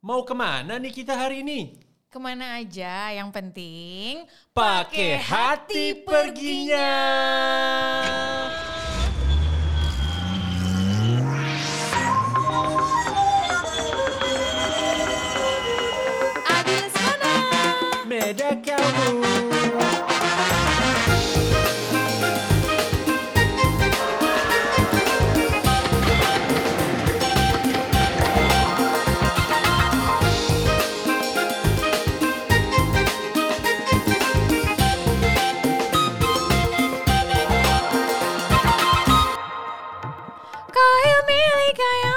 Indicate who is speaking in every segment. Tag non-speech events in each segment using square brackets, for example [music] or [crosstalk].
Speaker 1: Mau kemana nih kita hari ini?
Speaker 2: Kemana aja yang penting
Speaker 1: Pakai hati perginya.
Speaker 2: Abis mana?
Speaker 1: Beda kamu.
Speaker 2: Kau milik kaya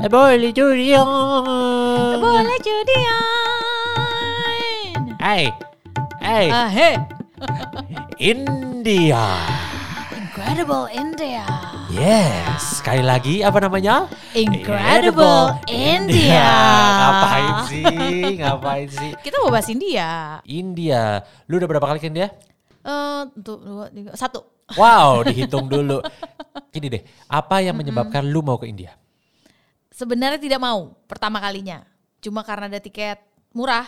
Speaker 1: Boleh jurian. Eh, Iya.
Speaker 2: Boleh judian
Speaker 1: Hai, hai,
Speaker 2: Ah, hey.
Speaker 1: India.
Speaker 2: Incredible India
Speaker 1: Yes, sekali lagi apa namanya?
Speaker 2: Incredible India
Speaker 1: Iya. [laughs] Ngapain sih? Ngapain sih?
Speaker 2: Kita mau bahas India
Speaker 1: India. Lu udah berapa kali ke India?
Speaker 2: Eh, tuh, dua, tiga, Satu
Speaker 1: Wow, dihitung dulu. Gini deh, apa yang menyebabkan lu mau ke India?
Speaker 2: Sebenarnya tidak mau pertama kalinya Cuma karena ada tiket murah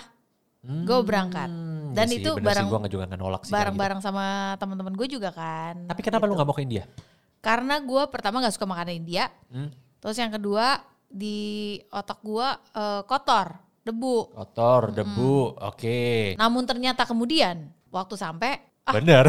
Speaker 2: Gue berangkat
Speaker 1: Hmm,
Speaker 2: Dan
Speaker 1: iya sih,
Speaker 2: itu
Speaker 1: bener
Speaker 2: bareng
Speaker 1: sih, gua nggak juga nggak nolak sih. kayak gitu.
Speaker 2: bareng-bareng sama teman-teman gue juga kan.
Speaker 1: Tapi kenapa lu nggak mau ke India?
Speaker 2: Karena gue pertama nggak suka makanan India.
Speaker 1: Hmm?
Speaker 2: Terus yang kedua di otak gue eh, kotor, debu.
Speaker 1: Kotor,
Speaker 2: Hmm.
Speaker 1: debu, oke.
Speaker 2: Namun ternyata kemudian waktu sampai, ah,
Speaker 1: Bener.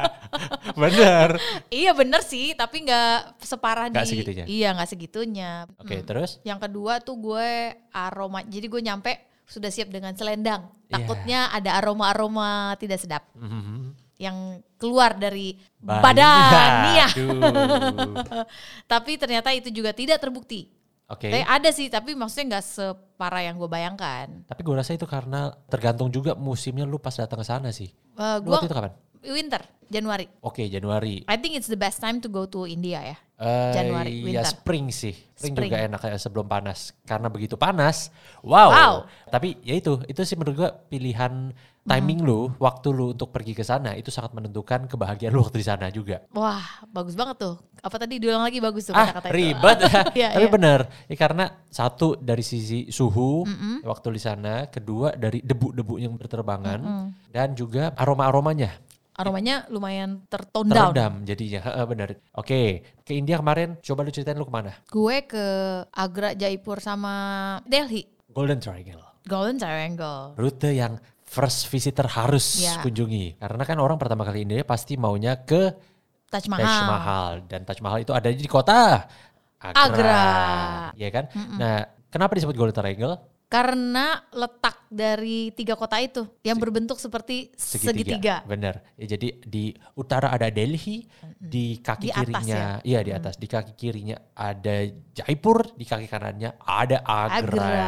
Speaker 1: [laughs] Bener.
Speaker 2: iya bener sih, tapi nggak separah
Speaker 1: Nggak
Speaker 2: di.
Speaker 1: segitunya.
Speaker 2: Iya nggak segitunya.
Speaker 1: Oke,
Speaker 2: Mm.
Speaker 1: terus? [laughs]
Speaker 2: Yang kedua tuh gue aroma, jadi gue nyampe sudah siap dengan selendang.
Speaker 1: Iya.
Speaker 2: Takutnya ada aroma-aroma tidak sedap
Speaker 1: Mhm.
Speaker 2: yang keluar dari
Speaker 1: Badan. [laughs]
Speaker 2: badan. Iya.
Speaker 1: Aduh.
Speaker 2: tapi ternyata itu juga tidak terbukti.
Speaker 1: Oke.
Speaker 2: Tapi ada sih, tapi maksudnya nggak separah yang gue bayangkan.
Speaker 1: Tapi gue rasa itu karena tergantung juga musimnya lu pas datang ke sana sih.
Speaker 2: Eh,
Speaker 1: Lu
Speaker 2: gua
Speaker 1: waktu itu kapan?
Speaker 2: winter, Januari.
Speaker 1: Oke, Januari.
Speaker 2: I think it's the best time to go to India ya.
Speaker 1: Eh,
Speaker 2: Januari,
Speaker 1: Ya
Speaker 2: winter.
Speaker 1: spring sih. Spring,
Speaker 2: Spring.
Speaker 1: juga enak ya sebelum panas. Karena begitu panas, wow.
Speaker 2: Wow.
Speaker 1: Tapi ya itu, itu sih menurut gua pilihan timing
Speaker 2: Hmm.
Speaker 1: lu, waktu lu untuk pergi ke sana itu sangat menentukan kebahagiaan lu waktu di sana juga.
Speaker 2: Wah, bagus banget tuh. Apa tadi diulang lagi bagus tuh
Speaker 1: Ah,
Speaker 2: kata-kata itu.
Speaker 1: ribet.
Speaker 2: [laughs]
Speaker 1: [laughs]
Speaker 2: Iya,
Speaker 1: Tapi
Speaker 2: iya.
Speaker 1: bener, ya, karena satu dari sisi suhu waktu di sana, kedua dari debu-debu yang berterbangan dan juga aroma-aromanya
Speaker 2: Aromanya lumayan tertone down.
Speaker 1: terendam jadinya. [laughs] Heeh, bener. Oke, ke India kemarin coba lu ceritain lu kemana?
Speaker 2: Gue ke Agra, Jaipur sama Delhi.
Speaker 1: Golden Triangle.
Speaker 2: Golden Triangle.
Speaker 1: rute yang first visitor harus
Speaker 2: Ya.
Speaker 1: kunjungi. Karena kan orang pertama kali India pasti maunya ke
Speaker 2: Taj Mahal.
Speaker 1: Taj Mahal dan Taj Mahal itu ada di kota Agra.
Speaker 2: Agra.
Speaker 1: Iya kan? Nah, kenapa disebut Golden Triangle?
Speaker 2: Karena letak dari tiga kota itu yang berbentuk seperti segitiga.
Speaker 1: Bener. Ya, jadi di utara ada Delhi, di kaki
Speaker 2: Di atas ya?
Speaker 1: kirinya, iya di atas, di kaki kirinya ada Jaipur, di kaki kanannya ada Agra.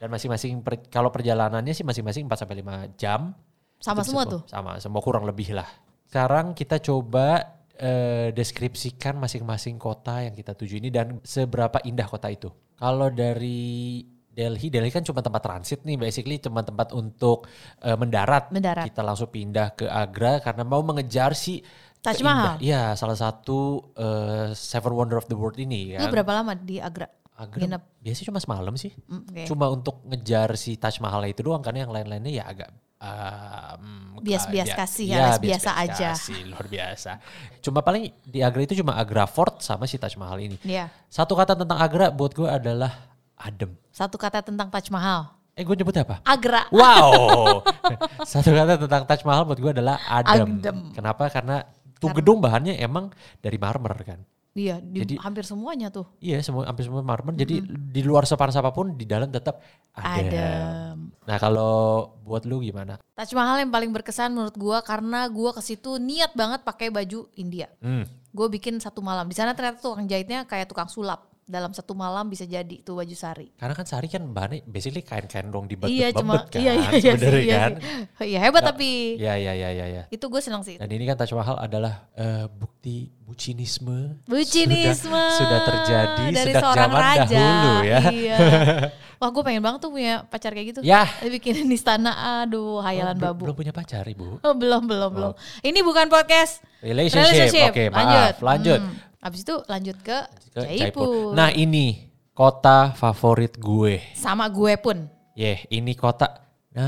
Speaker 1: Dan masing-masing per- kalau perjalanannya sih masing-masing 4 sampai 5 jam.
Speaker 2: Sama
Speaker 1: Itu
Speaker 2: semua
Speaker 1: semua-
Speaker 2: tuh.
Speaker 1: Sama, semua kurang lebih lah. Sekarang kita coba eh, deskripsikan masing-masing kota yang kita tuju ini dan seberapa indah kota itu. Kalau dari Delhi, Delhi kan cuma tempat transit nih, basically cuma tempat untuk eh, mendarat.
Speaker 2: Mendarat.
Speaker 1: Kita langsung pindah ke Agra karena mau mengejar si
Speaker 2: Taj
Speaker 1: keindah-
Speaker 2: Mahal.
Speaker 1: Iya, salah satu eh, Seven Wonder of the World ini
Speaker 2: Lu
Speaker 1: kan.
Speaker 2: berapa lama di Agra?
Speaker 1: Agra
Speaker 2: nginep?
Speaker 1: biasanya cuma semalam sih.
Speaker 2: Mm, oke.
Speaker 1: Cuma untuk ngejar si Taj Mahal itu doang karena yang lain-lainnya ya agak um,
Speaker 2: Bias-bias
Speaker 1: ya-
Speaker 2: kasih,
Speaker 1: ya,
Speaker 2: alas biasa
Speaker 1: bias-bias
Speaker 2: aja.
Speaker 1: kasih, luar biasa. Cuma paling di Agra itu cuma Agra Fort sama si Taj Mahal ini.
Speaker 2: Iya.
Speaker 1: Satu kata tentang Agra buat gue adalah adem.
Speaker 2: Satu kata tentang Taj Mahal.
Speaker 1: Eh gue nyebut apa?
Speaker 2: Agra.
Speaker 1: Wow. [laughs] Satu kata tentang Taj Mahal buat gue adalah adem.
Speaker 2: Adem.
Speaker 1: Kenapa? Karena tuh gedung bahannya emang dari marmer kan.
Speaker 2: Iya, di
Speaker 1: Jadi-
Speaker 2: hampir semuanya tuh.
Speaker 1: Iya semua hampir semua marmer. Jadi di luar sepanas apapun di dalam tetap adem.
Speaker 2: Adem.
Speaker 1: Nah kalau buat lu gimana?
Speaker 2: Taj Mahal yang paling berkesan menurut gua karena gua ke situ niat banget pakai baju India.
Speaker 1: Hmm.
Speaker 2: Gue bikin satu malam. Di sana ternyata tukang jahitnya kayak tukang sulap. Dalam satu malam bisa jadi tuh baju sari.
Speaker 1: Karena kan sehari kan bahannya basically kain-kain dong dibebet
Speaker 2: iya, cuma
Speaker 1: kan
Speaker 2: iya iya iya
Speaker 1: sebenarnya
Speaker 2: sih, iya
Speaker 1: kan.
Speaker 2: sih. Iya, hebat
Speaker 1: Nggak-
Speaker 2: tapi
Speaker 1: Iya iya iya iya. Ya.
Speaker 2: itu gue senang sih.
Speaker 1: Dan ini kan Taj Mahal adalah eh, bukti bucinisme.
Speaker 2: Bucinisme
Speaker 1: Sudah, sudah terjadi
Speaker 2: dari
Speaker 1: sejak
Speaker 2: seorang
Speaker 1: zaman
Speaker 2: raja.
Speaker 1: dahulu ya. [laughs]
Speaker 2: Iya. Wah gue pengen banget tuh punya pacar kayak gitu.
Speaker 1: Yah.
Speaker 2: Bikinin istana, aduh hayalan
Speaker 1: Bel-
Speaker 2: babu.
Speaker 1: Ya. Belum punya pacar ibu.
Speaker 2: [laughs] Oh, belum belum belum. Ini bukan podcast.
Speaker 1: Relationship. Oke maaf. Lanjut.
Speaker 2: Hmm. Abis itu lanjut ke,
Speaker 1: Ke
Speaker 2: Jaipur.
Speaker 1: Nah ini kota favorit gue.
Speaker 2: Sama gue pun.
Speaker 1: Yeh, ini kota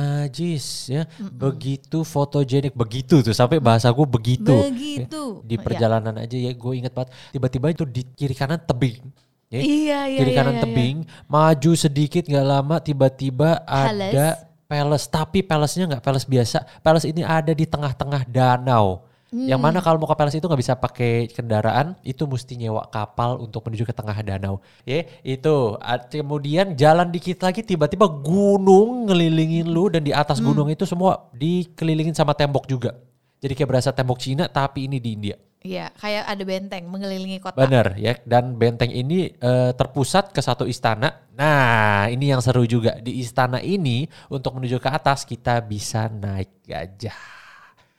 Speaker 1: najis ya. Begitu fotogenik, begitu tuh sampai bahasa gue begitu.
Speaker 2: Begitu. Oh,
Speaker 1: Ya, Di perjalanan aja ya gue inget banget. Tiba-tiba itu di kiri kanan tebing. ya.
Speaker 2: Iya, iya,
Speaker 1: kiri
Speaker 2: iya,
Speaker 1: kanan
Speaker 2: iya,
Speaker 1: tebing, maju sedikit nggak lama tiba-tiba ada palace. Tapi palace-nya nggak palace biasa. Palace ini ada di tengah-tengah danau. Yang
Speaker 2: Hmm.
Speaker 1: mana kalau mau ke palace itu nggak bisa pakai kendaraan, itu mesti nyewa kapal untuk menuju ke tengah danau. Ya, itu. A- Kemudian jalan dikit lagi tiba-tiba gunung ngelilingin lu dan di atas
Speaker 2: Hmm.
Speaker 1: gunung itu semua dikelilingin sama tembok juga. Jadi kayak berasa tembok Cina tapi ini di India.
Speaker 2: Iya, kayak ada benteng mengelilingi kota.
Speaker 1: Bener ya, dan benteng ini eh, terpusat ke satu istana. Nah, ini yang seru juga di istana ini untuk menuju ke atas kita bisa naik gajah,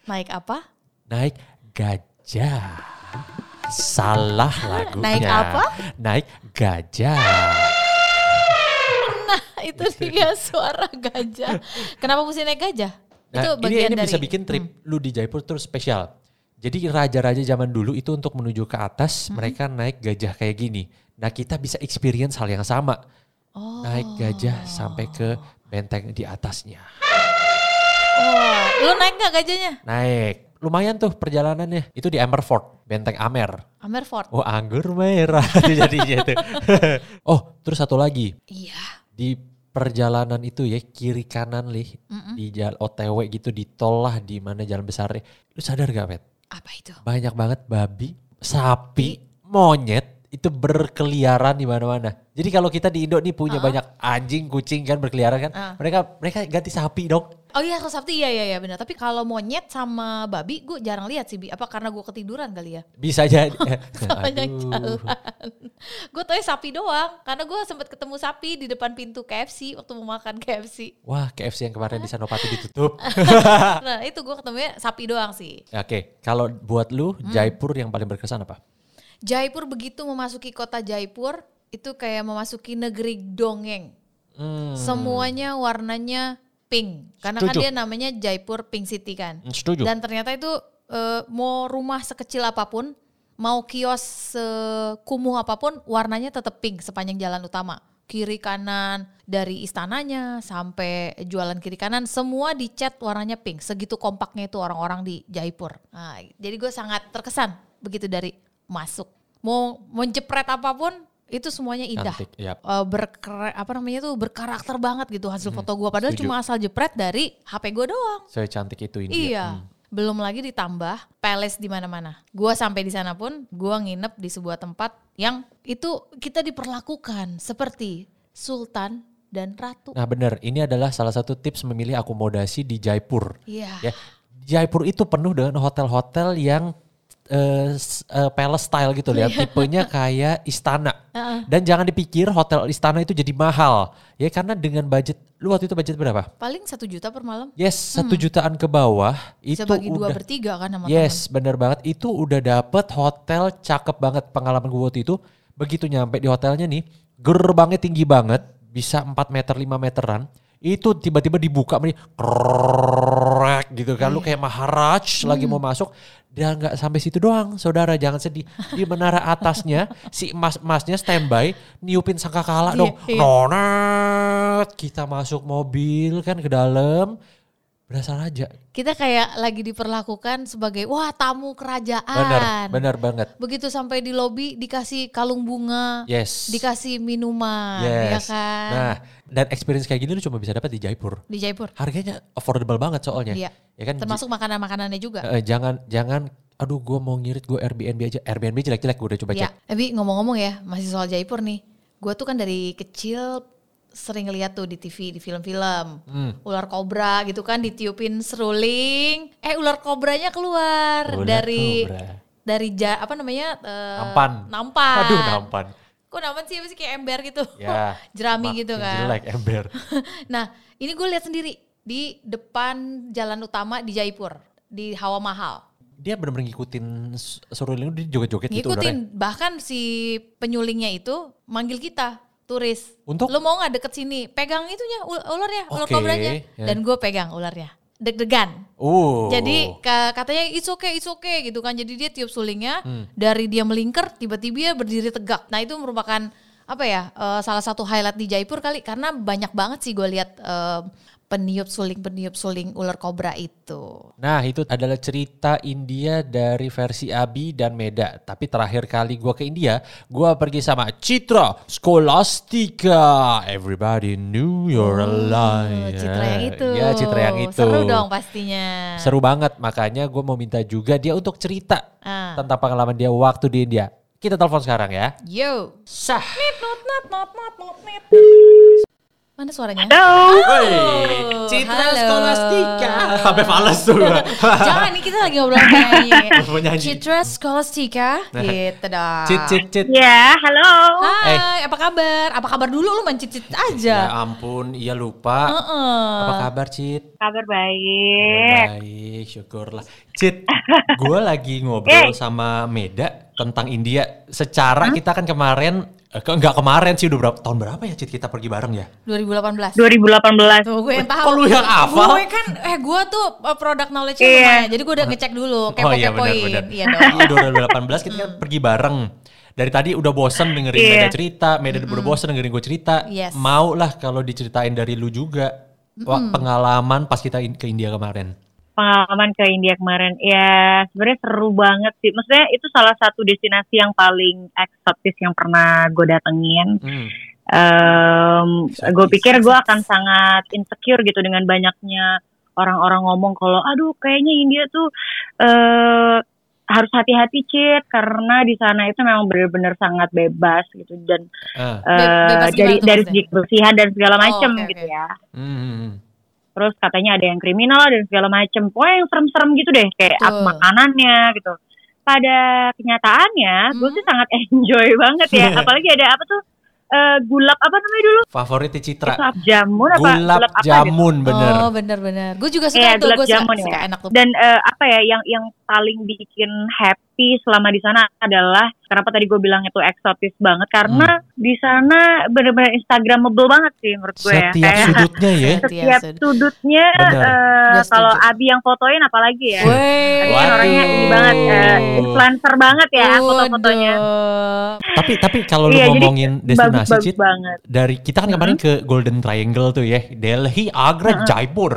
Speaker 2: Naik apa? [laughs]
Speaker 1: naik gajah.
Speaker 2: [laughs]
Speaker 1: Salah lagunya.
Speaker 2: Naik apa?
Speaker 1: Naik gajah.
Speaker 2: itu
Speaker 1: Iya.
Speaker 2: dia suara gajah. Kenapa mesti naik gajah?
Speaker 1: Nah,
Speaker 2: itu
Speaker 1: ini,
Speaker 2: bagian
Speaker 1: ini
Speaker 2: dari Hmm.
Speaker 1: bisa bikin trip lu di Jaipur terus spesial. Jadi raja-raja zaman dulu itu untuk menuju ke atas
Speaker 2: Hmm.
Speaker 1: mereka naik gajah kayak gini. Nah kita bisa experience hal yang sama.
Speaker 2: Oh.
Speaker 1: Naik gajah sampai ke benteng di atasnya.
Speaker 2: Oh, lu naik nggak gajahnya?
Speaker 1: Naik. Lumayan tuh perjalanannya. Itu di Amerfort, benteng Amer.
Speaker 2: Amer Fort.
Speaker 1: Oh anggur merah [laughs] itu jadinya tuh. oh terus satu lagi.
Speaker 2: Iya.
Speaker 1: Di perjalanan itu ya kiri kanan lih. Di jalan OTW gitu di tol lah di mana jalan besarnya. Lu sadar gak Pet?
Speaker 2: Apa itu?
Speaker 1: Banyak banget babi, sapi, monyet itu berkeliaran di mana-mana. Jadi kalau kita di Indo nih punya banyak anjing, kucing kan berkeliaran kan.
Speaker 2: Ah.
Speaker 1: Mereka mereka ganti sapi dong.
Speaker 2: Oh iya, kalau Sabtu iya iya iya benar. Tapi kalau monyet sama babi gue jarang lihat sih. Bi. Apa karena gue ketiduran kali ya? [laughs]
Speaker 1: Bisa jadi.
Speaker 2: Banyak
Speaker 1: Aduh.
Speaker 2: jalan. Gue tau sapi doang. Karena gue sempet ketemu sapi di depan pintu KFC waktu mau makan KFC.
Speaker 1: [laughs] Wah, KFC yang kemarin di Senopati ditutup. Ya,
Speaker 2: Nah itu gue ketemunya sapi doang sih.
Speaker 1: Oke, kalau buat lu
Speaker 2: Hmm.
Speaker 1: Jaipur yang paling berkesan apa?
Speaker 2: Jaipur begitu memasuki kota Jaipur itu kayak memasuki negeri dongeng.
Speaker 1: Hmm,
Speaker 2: Semuanya warnanya pink karena kan
Speaker 1: Setuju.
Speaker 2: dia namanya Jaipur Pink City kan.
Speaker 1: setuju.
Speaker 2: Dan ternyata itu eh, mau rumah sekecil apapun, mau kios sekumuh apapun, warnanya tetap pink sepanjang jalan utama. Kiri kanan dari istananya sampai jualan kiri kanan semua dicat warnanya pink. Segitu kompaknya itu orang-orang di Jaipur. Nah, jadi gue sangat terkesan begitu dari masuk. Mau menjepret apapun itu semuanya indah.
Speaker 1: Cantik, yap.
Speaker 2: Eh, berker- apa namanya tuh berkarakter banget gitu hasil foto gue padahal
Speaker 1: Hmm, setuju.
Speaker 2: cuma asal jepret dari HP gue doang.
Speaker 1: Saya cantik itu India.
Speaker 2: Iya. Belum lagi ditambah palace di mana-mana. Gua sampai di sana pun gua nginep di sebuah tempat yang itu kita diperlakukan seperti sultan dan ratu.
Speaker 1: Nah, benar. Ini adalah salah satu tips memilih akomodasi di Jaipur.
Speaker 2: Iya.
Speaker 1: Ya, Jaipur itu penuh dengan hotel-hotel yang eh, s- eh, palace style gitu ya,
Speaker 2: Iya.
Speaker 1: tipenya kayak istana. Dan jangan dipikir hotel istana itu jadi mahal. Ya karena dengan budget lu waktu itu budget berapa?
Speaker 2: Paling satu juta per malam.
Speaker 1: Yes, satu jutaan ke bawah itu
Speaker 2: Hmm. Bisa bagi dua
Speaker 1: udah
Speaker 2: bertiga kan sama teman.
Speaker 1: Yes, bener banget. Itu udah dapet hotel cakep banget pengalaman gue waktu itu. Begitu nyampe di hotelnya nih, gerbangnya tinggi banget, bisa 4 meter 5 meteran. Itu tiba-tiba dibuka nih, krek gitu kan. Lu kayak Maharaj lagi mau masuk. Dan nggak sampai situ doang, saudara jangan sedih. Di menara atasnya, si emas-emasnya standby, niupin sangkakala
Speaker 2: Iya,
Speaker 1: dong.
Speaker 2: iya.
Speaker 1: Nonet, kita masuk mobil kan ke dalam. Berasa raja.
Speaker 2: Kita kayak lagi diperlakukan sebagai wah
Speaker 1: Bener,
Speaker 2: tamu kerajaan.
Speaker 1: bener banget.
Speaker 2: Begitu sampai di lobi dikasih kalung bunga,
Speaker 1: Yes.
Speaker 2: dikasih minuman, ya
Speaker 1: Yes.
Speaker 2: kan?
Speaker 1: Nah, dan experience kayak gini lu cuma bisa dapat di Jaipur.
Speaker 2: Di Jaipur.
Speaker 1: Harganya affordable banget soalnya.
Speaker 2: Iya.
Speaker 1: Ya kan?
Speaker 2: Termasuk makanan-makanannya juga.
Speaker 1: Eh, jangan jangan aduh gue mau ngirit gue Airbnb aja. Airbnb jelek-jelek gue udah coba
Speaker 2: Ya,
Speaker 1: cek.
Speaker 2: tapi ngomong-ngomong ya, masih soal Jaipur nih. Gue tuh kan dari kecil sering lihat tuh di TV, di film-film.
Speaker 1: Hmm.
Speaker 2: Ular kobra gitu kan ditiupin seruling, eh ular kobranya keluar
Speaker 1: Ular
Speaker 2: dari
Speaker 1: kobra.
Speaker 2: dari ja, apa namanya? eh,
Speaker 1: Nampan.
Speaker 2: Nampan.
Speaker 1: Aduh nampan.
Speaker 2: Kok nampan sih apa sih kayak ember gitu.
Speaker 1: Ya.
Speaker 2: [laughs] Jerami
Speaker 1: makin
Speaker 2: gitu kan.
Speaker 1: Jelek ember.
Speaker 2: [laughs] nah, ini gue lihat sendiri di depan jalan utama di Jaipur, di Hawa Mahal.
Speaker 1: Dia bener-bener ngikutin s- seruling lu, dia joget-joget gitu
Speaker 2: ngikutin
Speaker 1: udaranya.
Speaker 2: bahkan si penyulingnya itu manggil kita turis
Speaker 1: Untuk?
Speaker 2: lo mau nggak deket sini pegang itunya ul- ularnya ular
Speaker 1: Oke,
Speaker 2: kobranya
Speaker 1: ya.
Speaker 2: dan gue pegang ularnya deg-degan.
Speaker 1: Uh.
Speaker 2: Jadi ka- katanya it's okay, it's okay gitu kan. Jadi dia tiup sulingnya,
Speaker 1: Hmm.
Speaker 2: dari dia melingkar tiba-tiba dia berdiri tegak. Nah itu merupakan apa ya eh, salah satu highlight di Jaipur kali karena banyak banget sih gue lihat eh, peniup suling peniup suling ular kobra itu.
Speaker 1: Nah itu adalah cerita India dari versi Abi dan Meda. Tapi terakhir kali gua ke India, gua pergi sama Citra Skolastika. Everybody knew you're
Speaker 2: Oh,
Speaker 1: alive.
Speaker 2: Citra yang itu.
Speaker 1: Ya Ah, Citra yang itu.
Speaker 2: Seru dong pastinya.
Speaker 1: Seru banget. Makanya gua mau minta juga dia untuk cerita
Speaker 2: Ah.
Speaker 1: tentang pengalaman dia waktu di India. Kita telepon sekarang ya.
Speaker 2: Yo.
Speaker 1: Sah.
Speaker 2: Not, not, not, not, not, not. Mana suaranya?
Speaker 3: Halo.
Speaker 2: Halo.
Speaker 1: Citra
Speaker 2: Halo.
Speaker 1: Skolastika. Sampai falas tuh.
Speaker 2: [laughs] Jangan nih kita lagi ngobrol penyanyi.
Speaker 1: [laughs] Penyanyi.
Speaker 2: Citra Skolastika gitu dong.
Speaker 1: Nah, Cit cit cit.
Speaker 2: Iya.
Speaker 3: Ya, halo.
Speaker 2: Hai, apa kabar? Apa kabar dulu lu main cicit
Speaker 1: Ya
Speaker 2: aja.
Speaker 1: ampun, iya
Speaker 2: Oh,
Speaker 1: lupa.
Speaker 2: Heeh.
Speaker 1: Apa kabar Cit?
Speaker 3: Kabar baik.
Speaker 1: Baik, syukurlah.
Speaker 3: [laughs]
Speaker 1: Cit, gue lagi ngobrol sama Meda tentang India. Secara kita kan kemarin, eh, ke- nggak kemarin sih udah berapa tahun berapa ya Cit kita pergi bareng ya?
Speaker 2: 2018.
Speaker 3: 2018.
Speaker 2: Tuh gue yang tahu.
Speaker 1: Kok lu yang hafal?
Speaker 2: Gue kan eh gue tuh produk knowledge
Speaker 3: Iya.
Speaker 2: lumayan. Jadi gue udah ngecek dulu
Speaker 1: Oh,
Speaker 2: kepo-kepoin.
Speaker 1: benar-benar.
Speaker 2: Iya dong. Hmm.
Speaker 1: Iya 2018 kita kan pergi bareng. Dari tadi udah bosen dengerin
Speaker 3: Iya.
Speaker 1: Meda cerita, Meda udah bosen dengerin gue cerita.
Speaker 2: Hmm. Yes. Hmm.
Speaker 1: Mau lah kalau diceritain dari lu juga. Wah, pengalaman pas kita in- ke India kemarin.
Speaker 3: Pengalaman ke India kemarin. Ya, sebenarnya seru banget sih. Maksudnya itu salah satu destinasi yang paling eksotis yang pernah gue datengin.
Speaker 1: Hmm.
Speaker 3: gue pikir gue akan sangat insecure gitu dengan banyaknya orang-orang ngomong kalau aduh kayaknya India tuh eh harus hati-hati cit karena di sana itu memang benar-benar sangat bebas gitu dan
Speaker 1: Ah.
Speaker 3: eh,
Speaker 2: Be- bebas gimana
Speaker 3: dari
Speaker 2: tuh
Speaker 3: dari
Speaker 2: maksudnya?
Speaker 3: segi kebersihan dan segala
Speaker 2: Oh,
Speaker 3: macem
Speaker 2: oke,
Speaker 3: gitu
Speaker 2: oke.
Speaker 3: ya
Speaker 1: Hmm.
Speaker 3: terus katanya ada yang kriminal dan segala macem pokoknya yang serem-serem gitu deh kayak
Speaker 2: Betul.
Speaker 3: apa makanannya gitu pada kenyataannya gue
Speaker 2: Hmm.
Speaker 3: sih sangat [laughs] enjoy banget
Speaker 1: [laughs]
Speaker 3: ya apalagi ada apa tuh eh, gulap apa namanya dulu
Speaker 1: Favorit Citra.
Speaker 3: Gulab jamun apa
Speaker 1: Gulab
Speaker 3: apa gitu?
Speaker 1: jamun bener.
Speaker 2: Oh bener-bener. Gue juga suka
Speaker 3: Iya,
Speaker 2: itu.
Speaker 3: gulab
Speaker 2: Gue suka,
Speaker 3: jamun ya.
Speaker 2: suka enak tuh.
Speaker 3: Dan eh, apa ya yang yang paling bikin happy selama di sana adalah kenapa tadi gue bilang itu eksotis banget
Speaker 1: Hmm.
Speaker 3: karena di sana benar-benar instagramable banget sih menurut gue ya.
Speaker 1: Setiap sudutnya ya.
Speaker 3: [laughs] setiap
Speaker 2: Setiap
Speaker 3: sudutnya
Speaker 1: Bener.
Speaker 3: eh,
Speaker 2: Gue setuju.
Speaker 3: kalau Abi yang fotoin apalagi ya. Abi kan
Speaker 1: Waduh.
Speaker 3: orangnya ini banget eh, influencer banget ya foto-fotonya.
Speaker 2: Waduh.
Speaker 1: Tapi tapi kalau lu
Speaker 3: Iya, jadi
Speaker 1: ngomongin destinasi
Speaker 3: bagus-bagus
Speaker 1: Cit,
Speaker 3: banget.
Speaker 1: dari kita kan kemarin ke Golden Triangle tuh ya, Delhi, Agra, Jaipur.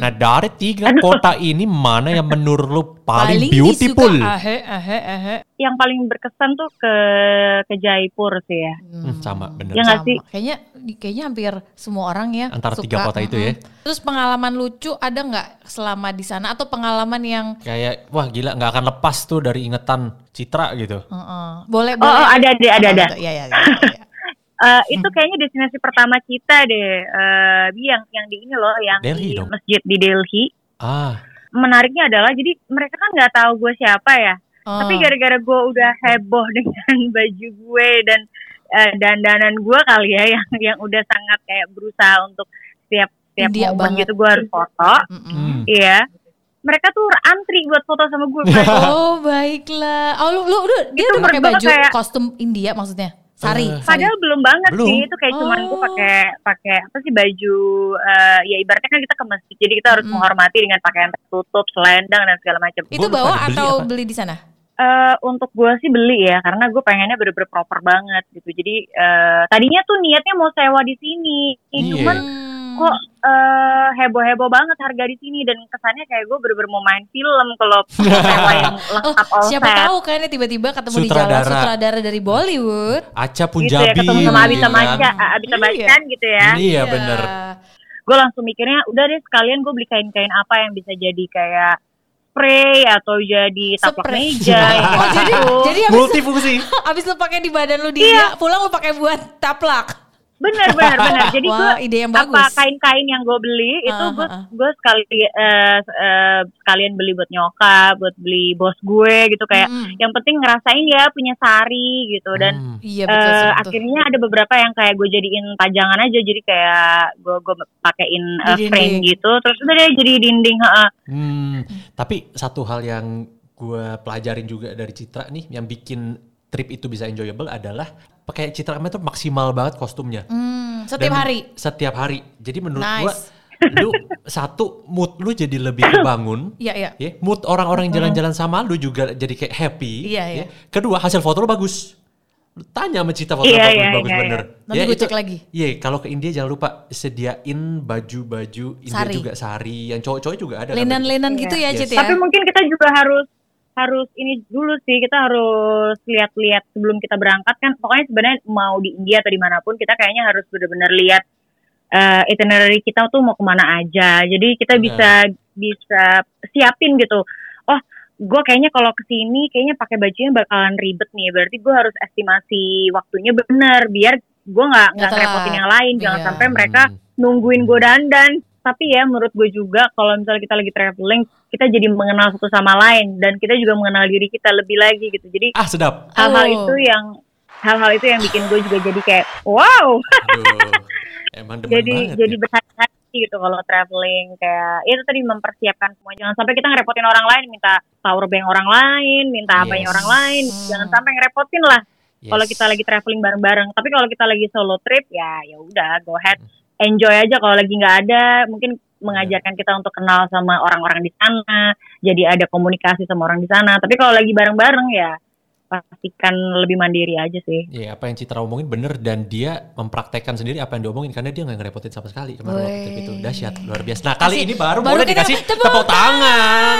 Speaker 1: Nah dari tiga kota ini mana yang menurut lu
Speaker 3: [laughs]
Speaker 1: paling, beautiful?
Speaker 2: disuka,
Speaker 3: ah.
Speaker 2: ahe, ahe, ahe.
Speaker 3: Yang paling berkesan tuh ke ke Jaipur sih ya.
Speaker 1: Hmm, sama bener.
Speaker 3: Ya nggak
Speaker 2: Sama.
Speaker 3: sih?
Speaker 2: Kayaknya kayaknya hampir semua orang ya
Speaker 1: Antara tiga kota itu ya.
Speaker 2: Terus pengalaman lucu ada nggak selama di sana atau pengalaman yang
Speaker 1: Kayak wah gila nggak akan lepas tuh dari ingetan Citra gitu.
Speaker 2: Heeh. boleh
Speaker 3: Oh,
Speaker 2: boleh
Speaker 3: oh, ada ada ada ada.
Speaker 2: Iya iya. iya, iya.
Speaker 3: Eh, itu kayaknya destinasi pertama kita deh. Eh, Bi, yang yang di ini loh, yang
Speaker 1: Delhi
Speaker 3: di
Speaker 1: dong.
Speaker 3: masjid di Delhi.
Speaker 1: Ah,
Speaker 3: Menariknya adalah jadi mereka kan nggak tahu gue siapa ya.
Speaker 2: Oh,
Speaker 3: [laughs] Tapi gara-gara gue udah heboh [laughs] dengan baju gue dan eh, dandanan gue kali ya yang yang udah sangat kayak berusaha untuk setiap setiap
Speaker 2: India
Speaker 3: momen
Speaker 2: banget.
Speaker 3: gitu gue harus foto.
Speaker 2: Oh, mm-mm.
Speaker 1: hmm.
Speaker 3: Iya. Mereka tuh antri buat foto sama gue.
Speaker 1: [laughs]
Speaker 2: Oh baiklah. Oh lu lu udah dia
Speaker 3: Itu
Speaker 2: udah pakai
Speaker 3: menurut gua
Speaker 2: baju
Speaker 3: kayak-
Speaker 2: kostum India maksudnya. Sari.
Speaker 1: Eh,
Speaker 2: sari.
Speaker 3: Padahal belum banget
Speaker 1: Belum.
Speaker 3: sih itu kayak cuman gue
Speaker 2: Oh.
Speaker 3: pakai pakai apa sih baju eh, ya ibaratnya kan kita ke masjid jadi kita harus
Speaker 2: Mm.
Speaker 3: menghormati dengan pakaian tertutup, selendang dan segala macam.
Speaker 2: itu
Speaker 1: gua lupa
Speaker 2: bawa
Speaker 1: ada beli
Speaker 2: atau
Speaker 1: apa.
Speaker 2: beli di sana?
Speaker 3: Eh, untuk gue sih beli ya karena gue pengennya bener-bener proper banget gitu. Jadi eh, tadinya tuh niatnya mau sewa di sini,
Speaker 1: Iya.
Speaker 3: cuman
Speaker 2: Hmm.
Speaker 3: kok eh, heboh-heboh banget harga di sini dan kesannya kayak gue bener-bener mau main film
Speaker 1: [laughs]
Speaker 3: kalau sewa yang
Speaker 2: Oh,
Speaker 3: lengkap all
Speaker 2: siapa
Speaker 3: set.
Speaker 2: tahu kan ya tiba-tiba ketemu di jalan
Speaker 1: Sutradara.
Speaker 2: sutradara dari Bollywood.
Speaker 1: Aca
Speaker 3: Gitu ya
Speaker 1: Punjabi.
Speaker 3: ketemu sama Abi
Speaker 1: gitu
Speaker 3: sama
Speaker 1: kan.
Speaker 3: Aca, Abi sama
Speaker 2: Iya.
Speaker 3: Acan gitu ya.
Speaker 1: Iya bener.
Speaker 3: gue langsung mikirnya udah deh sekalian gue beli kain-kain apa yang bisa jadi kayak spray atau jadi taplak
Speaker 2: Spray.
Speaker 3: meja
Speaker 2: [laughs]
Speaker 3: gitu.
Speaker 2: Oh, jadi jadi
Speaker 3: Iya,
Speaker 2: abis,
Speaker 1: Multifungsi.
Speaker 2: [laughs]
Speaker 3: [laughs]
Speaker 2: abis lu pakai di badan lu di India, pulang lu pakai buat taplak.
Speaker 3: bener bener
Speaker 2: [laughs]
Speaker 3: bener jadi gue
Speaker 2: Wah, ide yang
Speaker 3: apa
Speaker 2: bagus.
Speaker 3: kain-kain yang gue beli itu gue
Speaker 2: Ah, ah,
Speaker 3: gue sekali eh, eh, sekalian beli buat nyokap buat beli bos gue gitu kayak
Speaker 2: Mm-mm.
Speaker 3: yang penting ngerasain ya punya sari gitu dan
Speaker 1: Hmm.
Speaker 2: Iya
Speaker 3: Eh,
Speaker 2: betul sih, betul.
Speaker 3: akhirnya ada beberapa yang kayak gue jadiin pajangan aja jadi kayak gue gue pakein eh,
Speaker 2: Di
Speaker 3: frame
Speaker 2: dinding.
Speaker 3: gitu terus udah deh jadi dinding heeh.
Speaker 1: Hmm, tapi satu hal yang gue pelajarin juga dari Citra nih, yang bikin trip itu bisa enjoyable adalah pakai Citra kemarin tuh maksimal banget kostumnya.
Speaker 2: Hmm, setiap
Speaker 1: Dan
Speaker 2: hari.
Speaker 1: Setiap hari. Jadi menurut
Speaker 2: Nice.
Speaker 1: gue, [laughs] lu satu mood lu jadi lebih
Speaker 2: [coughs]
Speaker 1: kebangun.
Speaker 2: Iya, iya.
Speaker 1: Ya, mood orang-orang yang jalan-jalan sama lu juga jadi kayak happy.
Speaker 2: Iya, iya.
Speaker 1: ya. Kedua, hasil foto lu bagus. Lu tanya sama Cita foto lu
Speaker 3: Iya,
Speaker 1: bagus,
Speaker 3: iya,
Speaker 1: bagus
Speaker 3: iya,
Speaker 1: bener.
Speaker 2: Nanti
Speaker 1: Ya,
Speaker 2: gue
Speaker 1: itu-
Speaker 2: cek lagi.
Speaker 1: Iya, kalau ke India jangan lupa sediain baju-baju India
Speaker 2: Sari.
Speaker 1: juga sari, yang cowok-cowok juga ada. kan?
Speaker 2: Linen-linen gitu ya,
Speaker 1: Yes.
Speaker 2: Cit ya.
Speaker 3: Iya. Tapi mungkin kita juga harus harus ini dulu sih kita harus lihat-lihat sebelum kita berangkat kan pokoknya sebenarnya mau di India atau dimanapun kita kayaknya harus benar-benar lihat eh, itinerary kita tuh mau kemana aja jadi kita
Speaker 1: Benar.
Speaker 3: bisa bisa siapin gitu oh gue kayaknya kalau kesini kayaknya pakai bajunya bakalan ribet nih berarti gue harus estimasi waktunya bener biar gue nggak nggak
Speaker 2: telat.
Speaker 3: ngerepotin yang lain jangan
Speaker 2: Iya.
Speaker 3: sampai mereka
Speaker 1: Hmm.
Speaker 3: nungguin gue dandan. Tapi ya menurut gue juga kalau misalnya kita lagi traveling, kita jadi mengenal satu sama lain dan kita juga mengenal diri kita lebih lagi gitu. Jadi
Speaker 1: Ah, sedap.
Speaker 3: hal-hal
Speaker 2: Oh.
Speaker 3: itu yang hal-hal itu yang bikin gue juga jadi kayak wow. [laughs]
Speaker 1: Aduh, emang demen
Speaker 3: jadi
Speaker 1: banget.
Speaker 3: jadi
Speaker 1: ya.
Speaker 3: berhati-hati gitu kalau traveling kayak ya itu tadi mempersiapkan semua jangan sampai kita ngerepotin orang lain minta power bank orang lain minta apanya
Speaker 1: Yes.
Speaker 3: orang lain
Speaker 2: Hmm.
Speaker 3: jangan sampai ngerepotin lah
Speaker 1: ya. Yes.
Speaker 3: kalau kita lagi traveling bareng-bareng. Tapi kalau kita lagi solo trip ya ya udah go ahead enjoy aja kalau lagi nggak ada mungkin mengajarkan kita untuk kenal sama orang-orang di sana. Jadi ada komunikasi sama orang di sana. Tapi kalau lagi bareng-bareng ya pastikan lebih mandiri aja sih.
Speaker 1: Iya, apa yang Citra omongin bener dan dia mempraktekkan sendiri apa yang diomongin karena dia nggak ngerepotin sama sekali kemarin waktu
Speaker 2: Weh.
Speaker 1: itu, itu dahsyat luar biasa. Nah kali
Speaker 2: Kasih-
Speaker 1: ini baru,
Speaker 2: baru
Speaker 1: boleh
Speaker 2: kita
Speaker 1: dikasih
Speaker 2: tepuk
Speaker 1: tepuk tangan.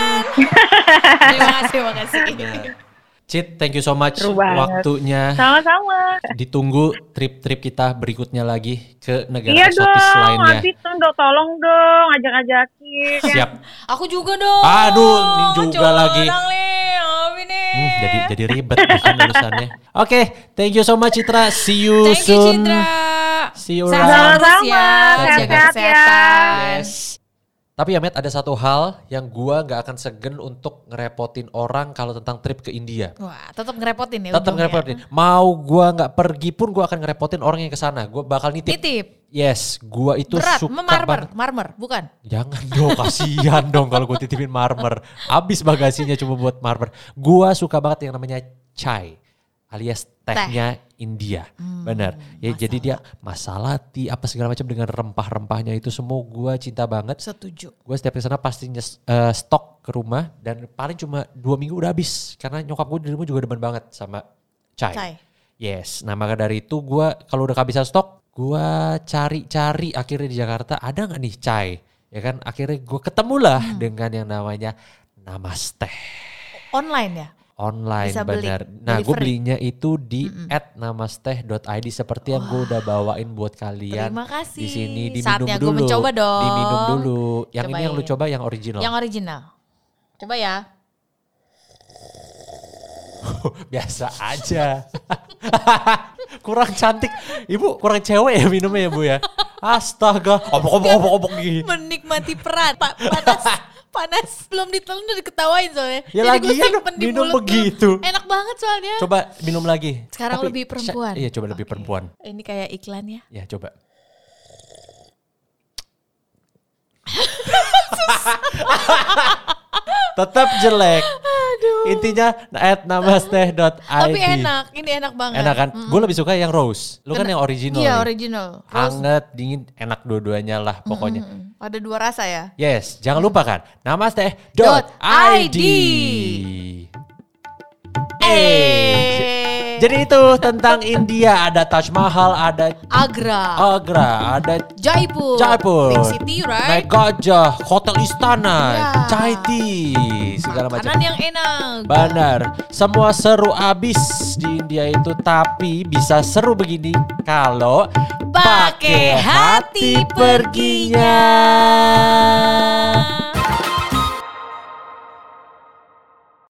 Speaker 2: Terima kasih, terima
Speaker 1: [laughs]
Speaker 2: kasih.
Speaker 1: Nah, Cit, thank you so much
Speaker 3: Seru banget.
Speaker 1: waktunya.
Speaker 3: Sama-sama.
Speaker 1: Ditunggu trip-trip kita berikutnya lagi ke negara
Speaker 3: Iya
Speaker 1: eksotis
Speaker 3: dong,
Speaker 1: lainnya.
Speaker 3: nanti tuh dong, tolong dong ajak-ajakin. ya.
Speaker 1: Siap.
Speaker 2: Aku juga dong.
Speaker 1: Aduh, ini juga
Speaker 2: Curang
Speaker 1: lagi.
Speaker 2: nih, Abi nih.
Speaker 1: Hmm, jadi jadi ribet bukan urusannya. Oke, thank you so much Citra. See you
Speaker 2: Thank you,
Speaker 1: soon.
Speaker 2: Citra.
Speaker 1: See you
Speaker 2: Salam
Speaker 1: around.
Speaker 2: terus ya. Jaga
Speaker 3: Sama-sama. Sehat-sehat ya.
Speaker 2: kesehatan.
Speaker 1: Yes. Tapi ya Matt, ada satu hal yang gua nggak akan segen untuk ngerepotin orang kalau tentang trip ke India.
Speaker 2: Wah, tetap ngerepotin ya.
Speaker 1: Tetap
Speaker 2: ujungnya.
Speaker 1: ngerepotin. Mau gua nggak pergi pun gua akan ngerepotin orang yang ke sana. Gua bakal nitip.
Speaker 2: Titip.
Speaker 1: Yes, gua itu
Speaker 2: Berat,
Speaker 1: suka
Speaker 2: marmer,
Speaker 1: banget.
Speaker 2: marmer, bukan.
Speaker 1: Jangan dong, kasihan dong kalau gue titipin marmer. Abis bagasinya cuma buat marmer. Gua suka banget yang namanya chai alias tehnya India.
Speaker 2: Hmm,
Speaker 1: Benar. Ya jadi dia masalati apa segala macam dengan rempah-rempahnya itu semua gua cinta banget.
Speaker 2: Setuju.
Speaker 1: gue setiap kesana pasti nyes- eh, stok ke rumah dan paling cuma dua minggu udah habis karena nyokap gue di rumah juga demen banget sama chai.
Speaker 2: Cai.
Speaker 1: Yes, nah maka dari itu gue kalau udah kehabisan stok, gue cari-cari akhirnya di Jakarta ada nggak nih chai? Ya kan akhirnya gue ketemulah
Speaker 2: Hmm.
Speaker 1: dengan yang namanya Namaste
Speaker 2: Online ya?
Speaker 1: online
Speaker 2: Bisa beli,
Speaker 1: benar. Nah, gue
Speaker 2: delivery.
Speaker 1: belinya itu di at @namasteh.id seperti yang gue udah bawain buat kalian
Speaker 2: Terima kasih.
Speaker 1: di sini diminum
Speaker 2: Saatnya
Speaker 1: dulu.
Speaker 2: gue mencoba dong.
Speaker 1: Diminum dulu. Yang ini yang lu
Speaker 2: Cobain.
Speaker 1: coba yang original.
Speaker 2: Yang original. Coba ya.
Speaker 1: Biasa aja. [laughs] kurang cantik. Ibu kurang cewek ya minumnya ya, Bu ya. Astaga. Obok-obok-obok gini.
Speaker 2: Menikmati peran. Pa- panas.
Speaker 1: [laughs]
Speaker 2: panas. Belum ditelan udah diketawain soalnya.
Speaker 1: Ya
Speaker 2: Jadi gue
Speaker 1: lagian
Speaker 2: simpen di
Speaker 1: minum
Speaker 2: mulut dulu.
Speaker 1: begitu.
Speaker 2: Enak banget soalnya.
Speaker 1: Coba minum lagi.
Speaker 2: Sekarang lebih perempuan.
Speaker 1: Iya, coba lebih
Speaker 2: Oke.
Speaker 1: perempuan.
Speaker 2: Ini kayak iklan ya.
Speaker 1: Ya,
Speaker 2: [laughs]
Speaker 1: coba. Tetap jelek.
Speaker 2: Aduh.
Speaker 1: Intinya at namasteh.id.
Speaker 2: Tapi enak. Ini enak banget.
Speaker 1: Enak kan? Gue lebih suka yang rose. Lu kan
Speaker 2: Kena-
Speaker 1: yang original. Ah.
Speaker 2: Iya
Speaker 1: nih.
Speaker 2: original. Rose.
Speaker 1: Anget, dingin, enak dua-duanya lah pokoknya.
Speaker 2: Mm, Ada dua rasa ya.
Speaker 1: Yes, jangan lupa kan.
Speaker 2: Dot
Speaker 1: Namaste.id. Eh.
Speaker 2: Eh.
Speaker 1: Jadi itu tentang India ada Taj Mahal, ada
Speaker 2: Agra.
Speaker 1: Agra, ada Oh.
Speaker 2: Jaipur.
Speaker 1: Jaipur,
Speaker 2: Big City right?
Speaker 1: naik gajah, hotel istana,
Speaker 2: Ya.
Speaker 1: chai tea, segala macam.
Speaker 2: Makanan yang enak.
Speaker 1: Benar, semua seru abis di India itu, tapi bisa seru begini kalau
Speaker 2: Pakai hati perginya. Nah.